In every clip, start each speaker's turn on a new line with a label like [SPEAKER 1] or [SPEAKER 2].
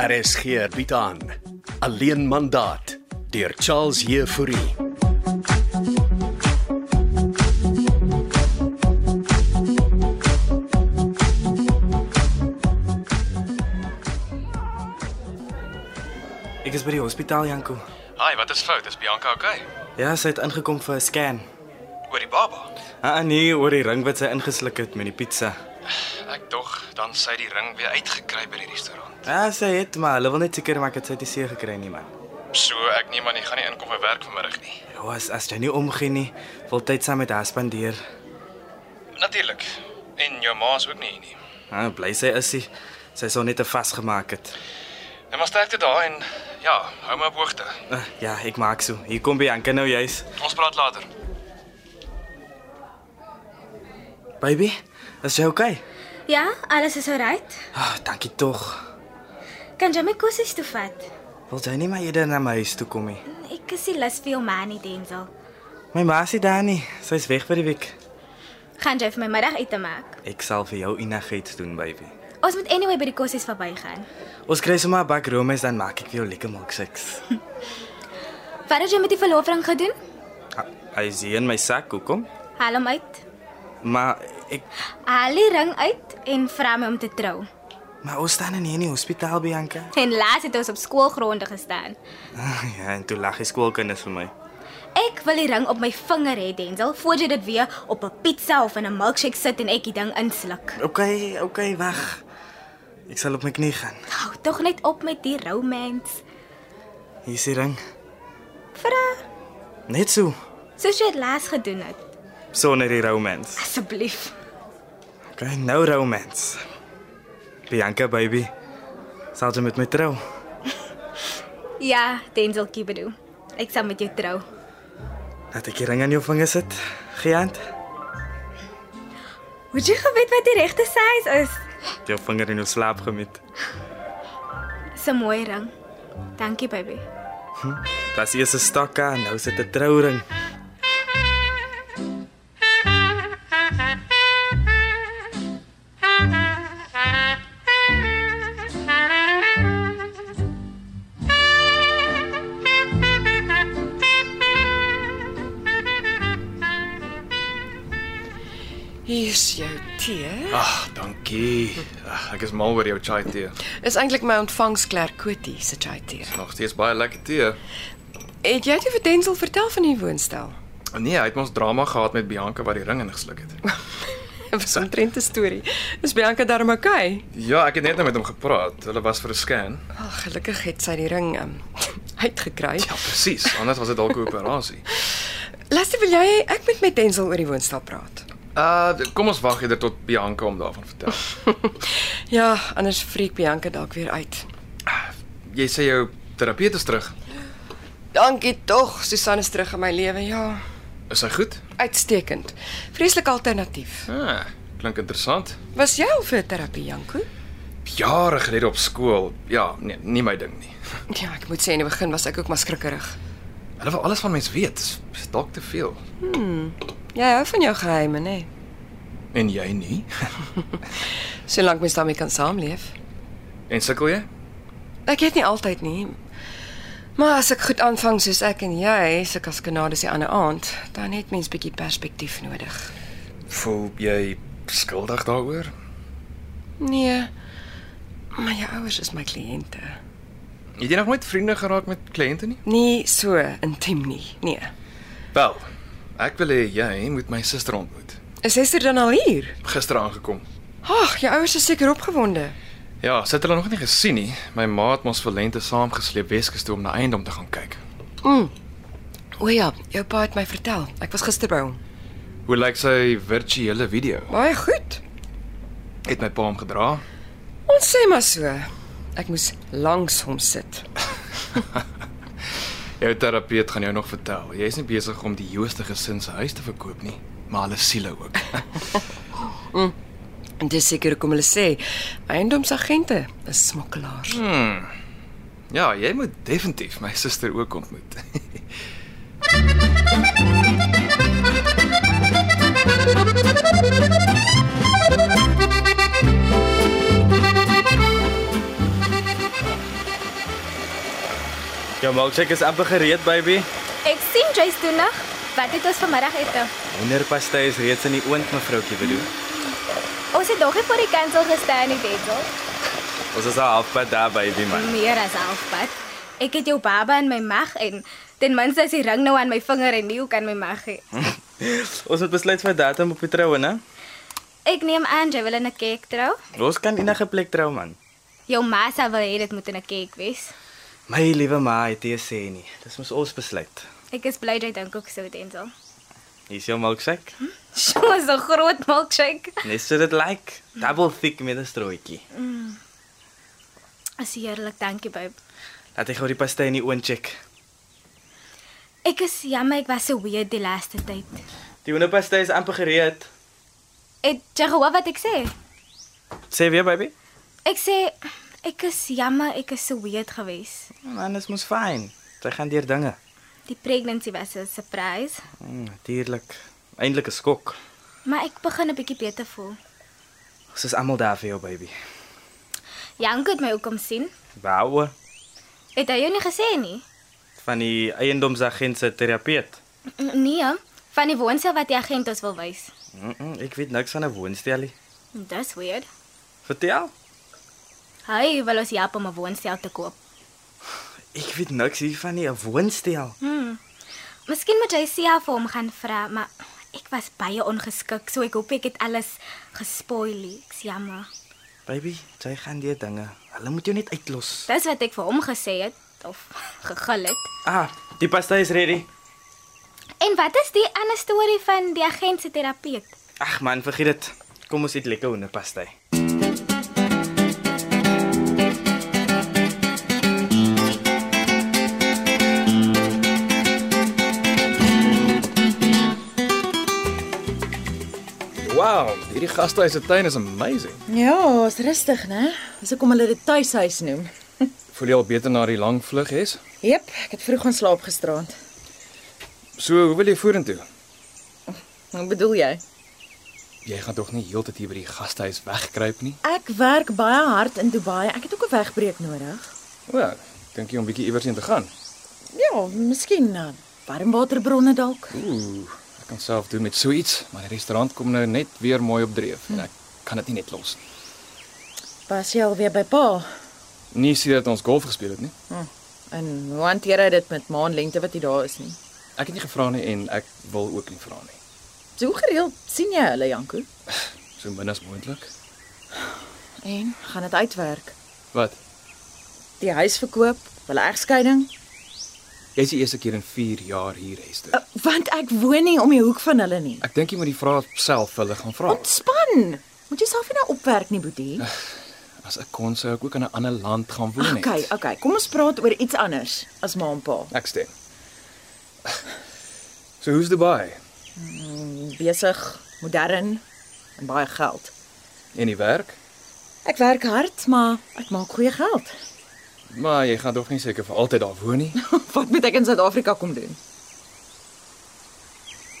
[SPEAKER 1] RSG bied aan Alleen mandaat deur Charles Heffouri.
[SPEAKER 2] Ek is by die hospitaal, Janko.
[SPEAKER 3] Hi, wat is fout? Is Bianca okay?
[SPEAKER 2] Ja, sy het ingekom vir 'n scan.
[SPEAKER 3] Oor die baba.
[SPEAKER 2] Ah nee, oor die ring wat sy ingesluk het met die pizza.
[SPEAKER 3] Ek dog dan sy die ring weer uitgekry by die restaurant.
[SPEAKER 2] Ja, sy het maar hulle wil net seker maak dat sy dit seer gekry nie, man.
[SPEAKER 3] So ek neem aan jy gaan nie inkom vir werk vanmiddag nie.
[SPEAKER 2] Ja, as as jy nie omgee nie, wil tyd saam met haar spandeer.
[SPEAKER 3] Natuurlik. En jou ma is ook nie hier nie.
[SPEAKER 2] Ah, bly sy is sy. Sy sou net 'n vasgemaak het.
[SPEAKER 3] Nou maar sterkte daar en ja, hou my op hoogte.
[SPEAKER 2] Ah, ja, ek maak so. Hier kom Bianca nou juis.
[SPEAKER 3] Ons praat later.
[SPEAKER 2] Baby, is jy okay?
[SPEAKER 4] Ja, alles is alright.
[SPEAKER 2] Ah, dankie tog.
[SPEAKER 4] Kan jy my kosies toe vat?
[SPEAKER 2] Wil jy nie maar eerder na my huis toe kom nie?
[SPEAKER 4] Ek is nie lus vir jou man nie, Denzel.
[SPEAKER 2] My ma is nie daar nie. Sy's weg vir die week.
[SPEAKER 4] Gaan jy vir my middagete maak?
[SPEAKER 2] Ek sal vir jou enigheid doen, baby.
[SPEAKER 4] Ons moet anyway by die kosies verbygaan.
[SPEAKER 2] Ons kry sommer 'n bak roomys dan maak ek vir jou lekker milkshakes.
[SPEAKER 4] Wat het jy met die verloofring gedoen?
[SPEAKER 2] Ha- Ah, Hy is hier in my sak, hoekom?
[SPEAKER 4] Haal hom uit.
[SPEAKER 2] Maar ek
[SPEAKER 4] Haal die ring uit en vra my om te trou.
[SPEAKER 2] maar ons staan in hier in die hospitaal Bianca.
[SPEAKER 4] En laas het ons op skoolgronde gestaan.
[SPEAKER 2] ja, en toe lag die skoolkinders vir my.
[SPEAKER 4] Ek wil die ring op my vinger hê, Denzel, voordat jy dit weer op 'n pizza of in 'n milkshake sit en ek die ding insluk.
[SPEAKER 2] OK, OK, wag. Ek sal op my knie gaan.
[SPEAKER 4] Hou tog net op met die romance.
[SPEAKER 2] Hier is die ring.
[SPEAKER 4] Vra,
[SPEAKER 2] Net so
[SPEAKER 4] soos jy dit laas gedoen het.
[SPEAKER 2] sonder die romance.
[SPEAKER 4] Asseblief.
[SPEAKER 2] OK, nou romance. Bianca baby. Sal jy met my trou?
[SPEAKER 4] Ja, Denzel Kibedu. Ek sal met jou trou.
[SPEAKER 2] Laat ek die ring aan jou vinger sit. Geant.
[SPEAKER 4] Hoe jy geweet wat die regte size is?
[SPEAKER 2] Jou vinger in jou slaap gemiet.
[SPEAKER 4] Dis 'n mooi ring. Dankie, baby.
[SPEAKER 2] Was eers 'n stakke en nou sit 'n trouring.
[SPEAKER 5] Hier's jou tee.
[SPEAKER 3] Ag, dankie. Ag, ek is mal oor jou chai tee.
[SPEAKER 5] Is eintlik my ontvangsklerk Kotie se chai tee.
[SPEAKER 3] Nog steeds baie lekker tee.
[SPEAKER 5] Het jy dit vir Denzel vertel van die woonstel?
[SPEAKER 3] Nee, hy het ons drama gehad met Bianca wat die ring ingesluk het.
[SPEAKER 5] Dit was omtrent 'n storie. Is Bianca daarmee okay?
[SPEAKER 3] Ja, ek het net nou met hom gepraat. Hulle was vir 'n scan.
[SPEAKER 5] Wel, gelukkig het sy die ring um, uitgekry.
[SPEAKER 3] Ja, presies. Anders was dit dalk 'n operasie.
[SPEAKER 5] Laste wil jy ek moet met Denzel oor die woonstel praat.
[SPEAKER 3] Uh, kom ons wag eerder tot Bianca om daarvan vertel.
[SPEAKER 5] Ja, anders freak Bianca dalk weer uit.
[SPEAKER 3] Jy sê jou terapeut is terug.
[SPEAKER 5] Dankie tog, Susan is terug in my lewe. Ja,
[SPEAKER 3] Is hy goed?
[SPEAKER 5] uitstekend. Vreeslike alternatief.
[SPEAKER 3] Ah, klink interessant.
[SPEAKER 5] Was jy al vir terapie, Janko?
[SPEAKER 3] Jare gelede op skool. Ja, nee, nie my ding nie.
[SPEAKER 5] Ja, ek moet sê in die begin was ek ook maar skrikkerig.
[SPEAKER 3] Hulle wil alles van mens weet. Dis- Dis dalk te veel.
[SPEAKER 5] Jy hou van jou geheime, nê? Nee?
[SPEAKER 3] En jy nie?
[SPEAKER 5] Solank mens daarmee kan saamleef.
[SPEAKER 3] En sukkel jy?
[SPEAKER 5] Ek het nie altyd nie. Maar as ek goed aanvang soos ek en jy, sukkel as Kanades die ander aand, dan het mens bietjie perspektief nodig.
[SPEAKER 3] Voel jy skuldig daaroor?
[SPEAKER 5] Nee. Maar jou ouers is my kliënte.
[SPEAKER 3] Het jy nog nooit vriende geraak met kliënte nie?
[SPEAKER 5] Nie so intiem nie. Nee.
[SPEAKER 3] Wel, ek wil hê jy moet my suster ontmoet.
[SPEAKER 5] Is Esther dan al hier?
[SPEAKER 3] Gister aangekom.
[SPEAKER 5] Ag, jou ouers is seker opgewonde.
[SPEAKER 3] Ja, sit hulle nog nie gesien nie. My ma het ons vir lente saamgesleep Weskus toe om na eiendom te gaan kyk.
[SPEAKER 5] Mm. O ja, jou pa het my vertel. Ek was gister by hom.
[SPEAKER 3] Hoe lyk sy virtuele video?
[SPEAKER 5] Baie goed.
[SPEAKER 3] Het my pa hom gedra?
[SPEAKER 5] Ons sê maar so. Ek moes langs hom sit.
[SPEAKER 3] Jou terapeut gaan jou nog vertel. Jy is nie besig om die Jooste gesin se huis te verkoop nie, maar hulle siele ook.
[SPEAKER 5] En dis seker hoekom hulle sê eiendomsagente is smokkelaars.
[SPEAKER 3] ja, jy moet definitief my suster ook ontmoet.
[SPEAKER 2] Jou Ja, milkshake is amper gereed, baby.
[SPEAKER 4] Ek sien Joyce toe nog. Wat het ons vanmiddagete?
[SPEAKER 2] Hoenderpastei is reeds in die oond, mevroutjie Bedoe.
[SPEAKER 4] Ons het nog nie voor die kantoor gestaan nie, Denzel.
[SPEAKER 2] Ons is al halfpad daar, baby man.
[SPEAKER 4] Meer as halfpad. Ek het jou baba in my mag en ten minste is die ring nou aan my vinger en nie ook aan my mag nie.
[SPEAKER 2] Ons het besluit vir datum op die troue, né?
[SPEAKER 4] Ek neem aan jy wil in 'n kerk trou.
[SPEAKER 2] Ons kan enige plek trou, man.
[SPEAKER 4] Jou ma sê wil hê dit moet in 'n kerk wees.
[SPEAKER 2] My liewe ma het dit sê nie. Dis mos ons besluit.
[SPEAKER 4] Ek is bly jy dink ook so, Denzel.
[SPEAKER 2] Hier is jou milkshake.
[SPEAKER 4] So is 'n groot milkshake.
[SPEAKER 2] Net so dit lyk. Like. Double thick met 'n strooitjie.
[SPEAKER 4] As heerlik, dankie babe.
[SPEAKER 2] Laat ek gou die pastei in die oond check.
[SPEAKER 4] Ek is jammer ek was so weird die laaste tyd.
[SPEAKER 2] Die hoenderpastei is amper gereed.
[SPEAKER 4] Het jy gehoor wat ek sê?
[SPEAKER 2] Sê weer, baby.
[SPEAKER 4] Ek sê ek is jammer ek is so weird geweest.
[SPEAKER 2] Man, dit mos fyn. Jy gaan deur dinge.
[SPEAKER 4] Die pregnancy was 'n surprise,
[SPEAKER 2] Mm, Natuurlik. Eindelik 'n skok.
[SPEAKER 4] maar ek begin 'n bietjie beter voel.
[SPEAKER 2] Ons is almal daar vir jou, baby.
[SPEAKER 4] Janko het my ook kom sien.
[SPEAKER 2] Wou
[SPEAKER 4] Het hy jou nie gesê nie?
[SPEAKER 2] van die eiendomsagent se terapeut.
[SPEAKER 4] N- Nee, hè? van die woonstel wat die agent ons wil wys.
[SPEAKER 2] Mm -mm, ek weet niks van 'n woonstelie.
[SPEAKER 4] Dis weird.
[SPEAKER 2] Vertel.
[SPEAKER 4] Hy wil ons help om 'n woonstel te koop.
[SPEAKER 2] Ek weet niks hier van nie, 'n woonstel.
[SPEAKER 4] Hmm. Miskien moet jy Sia vir hom gaan vra, maar ek was baie ongeskik, so ek hoop ek het alles gespoil. Ek's jammer.
[SPEAKER 2] Baby, jy gaan deur dinge. Hulle moet jou net uitlos.
[SPEAKER 4] Dis wat ek vir hom gesê het of gegil het.
[SPEAKER 2] Ah, die pastei is ready.
[SPEAKER 4] En wat is die ander storie van die agent se terapeut?
[SPEAKER 2] Ag man, vergeet dit. Kom ons eet lekker hoenderpastei.
[SPEAKER 3] Wow, hierdie gastehuis se tuin is amazing.
[SPEAKER 6] Ja, is rustig, né? Dis hoekom hulle dit tuishuis noem.
[SPEAKER 3] Voel jy al beter na die lang vlug hê?
[SPEAKER 6] Jep, ek het vroeg gaan slaap gisteraand.
[SPEAKER 3] So, hoe wil jy vorentoe?
[SPEAKER 6] Wat bedoel jy?
[SPEAKER 3] Jy gaan tog nie heeltyd hier by die gastehuis wegkruip nie.
[SPEAKER 6] Ek werk baie hard in Dubai. Ek het ook 'n wegbreek nodig.
[SPEAKER 3] O, ek dink jy om bietjie iewers heen te gaan.
[SPEAKER 6] Ja, miskien na warmwaterbronne dalk.
[SPEAKER 3] Ooh, ek kan self doen met so iets, maar die restaurant kom nou net weer mooi op dreef en ek kan dit nie net los nie.
[SPEAKER 6] Was jy al weer by pa?
[SPEAKER 3] Nie sien dat ons golf gespeel het nie.
[SPEAKER 6] En hoe hanteer hy dit met maanlengte wat hy daar is nie?
[SPEAKER 3] Ek het nie gevra nie en ek wil ook nie vra nie.
[SPEAKER 6] So hoe gereeld sien jy hulle, Janko?
[SPEAKER 3] So min as moontlik.
[SPEAKER 6] En gaan dit uitwerk?
[SPEAKER 3] Wat?
[SPEAKER 6] Die huis verkoop, hulle egskeiding?
[SPEAKER 3] Jy's die eerste keer in 4 jaar hier, Hester.
[SPEAKER 6] Uh, Want ek woon nie om die hoek van hulle nie.
[SPEAKER 3] Ek dink jy moet die vraag self vir hulle gaan vra.
[SPEAKER 6] Ontspan. Moet jouself nie nou opwerk nie, Boetie.
[SPEAKER 3] As ek kon sou ek ook in 'n ander land gaan woon het.
[SPEAKER 6] Okay, uh- okay. Kom ons praat oor iets anders as ma en pa.
[SPEAKER 3] Ek stem. So hoe's Dubai?
[SPEAKER 6] Besig, modern en baie geld.
[SPEAKER 3] En die werk?
[SPEAKER 6] Ek werk hard, maar ek maak goeie geld.
[SPEAKER 3] Maar jy gaan tog nie seker vir altyd daar woon nie.
[SPEAKER 6] Wat moet ek in Suid-Afrika kom doen?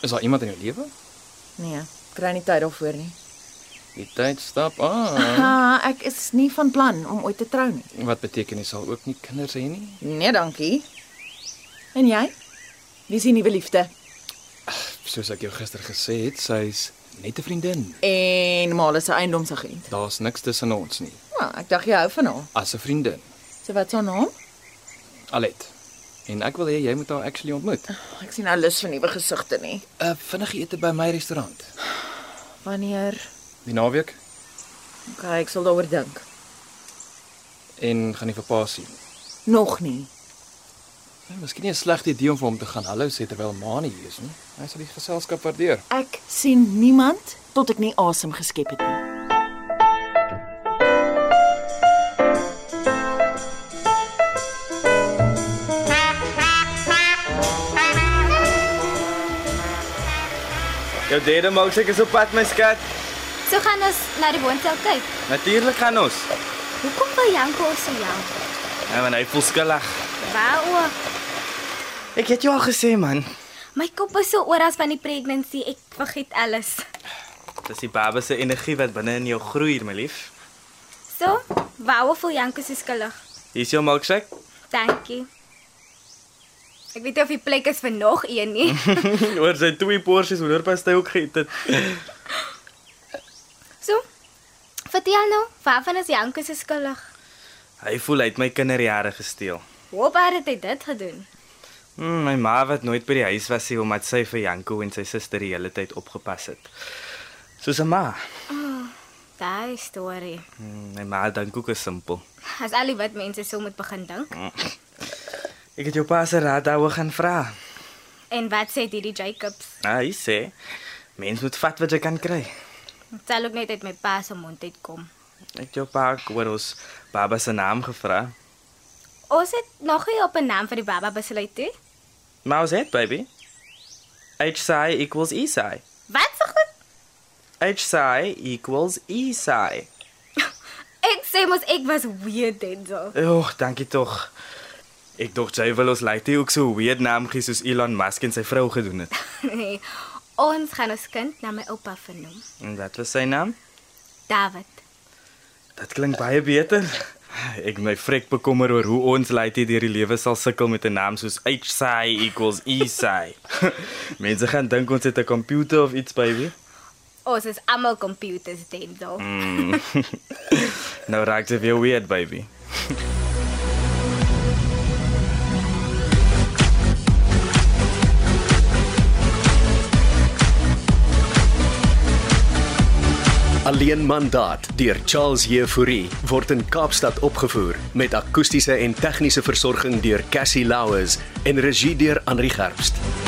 [SPEAKER 3] Is daar iemand in jou lewe?
[SPEAKER 6] Nee, ek kry nie tyd daarvoor nie.
[SPEAKER 3] Die tyd stap aan.
[SPEAKER 6] Ah, ek is nie van plan om ooit te trou nie.
[SPEAKER 3] Wat beteken jy sal ook nie kinders hê nie?
[SPEAKER 6] Nee, dankie. En jy? Dis die nuwe liefde
[SPEAKER 3] Soos ek jou gister gesê het, sy's net 'n vriendin.
[SPEAKER 6] en Male se eiendomsagent.
[SPEAKER 3] Daar's niks tussen ons nie.
[SPEAKER 6] Ja, ek dink jy hou van haar.
[SPEAKER 3] As 'n vriendin.
[SPEAKER 6] So wat is haar naam?
[SPEAKER 3] Alet. En ek wil hê jy moet haar actually ontmoet.
[SPEAKER 6] Ek sien nou lus vir nuwe gesigte nie.
[SPEAKER 3] 'n uh, Vinnige ete by my restaurant.
[SPEAKER 6] Wanneer?
[SPEAKER 3] Die naweek
[SPEAKER 6] Okay, ek sal daaroor dink.
[SPEAKER 3] en gaan nie vir pa sien.
[SPEAKER 6] Nog nie.
[SPEAKER 3] Ja, Miskien nie 'n slegte idee om vir hom te gaan hallo sê terwyl ma nie hier is nie. Hy sal die geselskap waardeer.
[SPEAKER 6] Ek sien niemand tot ek nie asem geskep het nie.
[SPEAKER 2] Jou derde milkshake is op pad, my skat.
[SPEAKER 4] So gaan ons na die woonstel kyk.
[SPEAKER 2] Natuurlik gaan ons.
[SPEAKER 4] Hoekom wil Janko ons so help?
[SPEAKER 2] Ja, man, hy voel skuldig.
[SPEAKER 4] Waaroor?
[SPEAKER 2] Ek het jou al gesê, man.
[SPEAKER 4] My kop is so oor as van die pregnancy. Ek vergeet alles.
[SPEAKER 2] Dis die baba se energie wat binne in jou groei, my lief.
[SPEAKER 4] So, waaroor voel Janko so skuldig?
[SPEAKER 2] Hier is jou milkshake.
[SPEAKER 4] Dankie. Ek weet nie of die plek is vir nog een nie.
[SPEAKER 2] Oor sy twee porsies hoenderpastei ook geëet het.
[SPEAKER 4] So. Vertel nou, waarvan is Janke se skuldig?
[SPEAKER 2] Hy voel hy het my kinderjare gesteel.
[SPEAKER 4] Hoe baie het hy dit gedoen?
[SPEAKER 2] Mm, my ma wat nooit by die huis was nie omdat sy vir Janko en sy suster die hele tyd opgepas het. Soos 'n ma.
[SPEAKER 4] Daai storie.
[SPEAKER 2] Mm, my ma dink ook is simpel.
[SPEAKER 4] As al die wit mense sou moet begin dink.
[SPEAKER 2] Ek het jou pa se raad daaroor gaan vra.
[SPEAKER 4] En wat sê hierdie Jacobs?
[SPEAKER 2] Ah, hy sê mens moet vat wat jy kan kry.
[SPEAKER 4] Dit sal ook net uit my pa se mond uitkom.
[SPEAKER 2] Ek het jou pa ook oor ons baba se naam gevra.
[SPEAKER 4] Ons het nog nie op 'n naam vir die baba besluit nie.
[SPEAKER 2] Maar ons het baby. H psi equals E psi.
[SPEAKER 4] Wat se goed?
[SPEAKER 2] H psi equals E psi.
[SPEAKER 4] Ek sê mos ek was weird Denzel.
[SPEAKER 2] Oeg, dankie tog. Ek dink jy wil ons lyk ook so weird naam gee soos Elon Musk en sy vrou gedoen het.
[SPEAKER 4] nee. Ons gaan ons kind na my oupa vernoem.
[SPEAKER 2] En wat was sy naam?
[SPEAKER 4] David.
[SPEAKER 2] Dit klink baie beter. Ek my vrek bekommer oor hoe ons laity deur die lewe sal sukkel met 'n naam soos HSI equals ESI. Mense gaan dink ons het 'n komputer of iets baby.
[SPEAKER 4] Ons is almal computers Denzel.
[SPEAKER 2] Nou raak dit weer weird baby.
[SPEAKER 1] Alleen mandaat deur Charles Jefouri word in Kaapstad opgevoer met akoestiese en tegniese versorging deur Cassie Louws en regie deur Henri Gerst.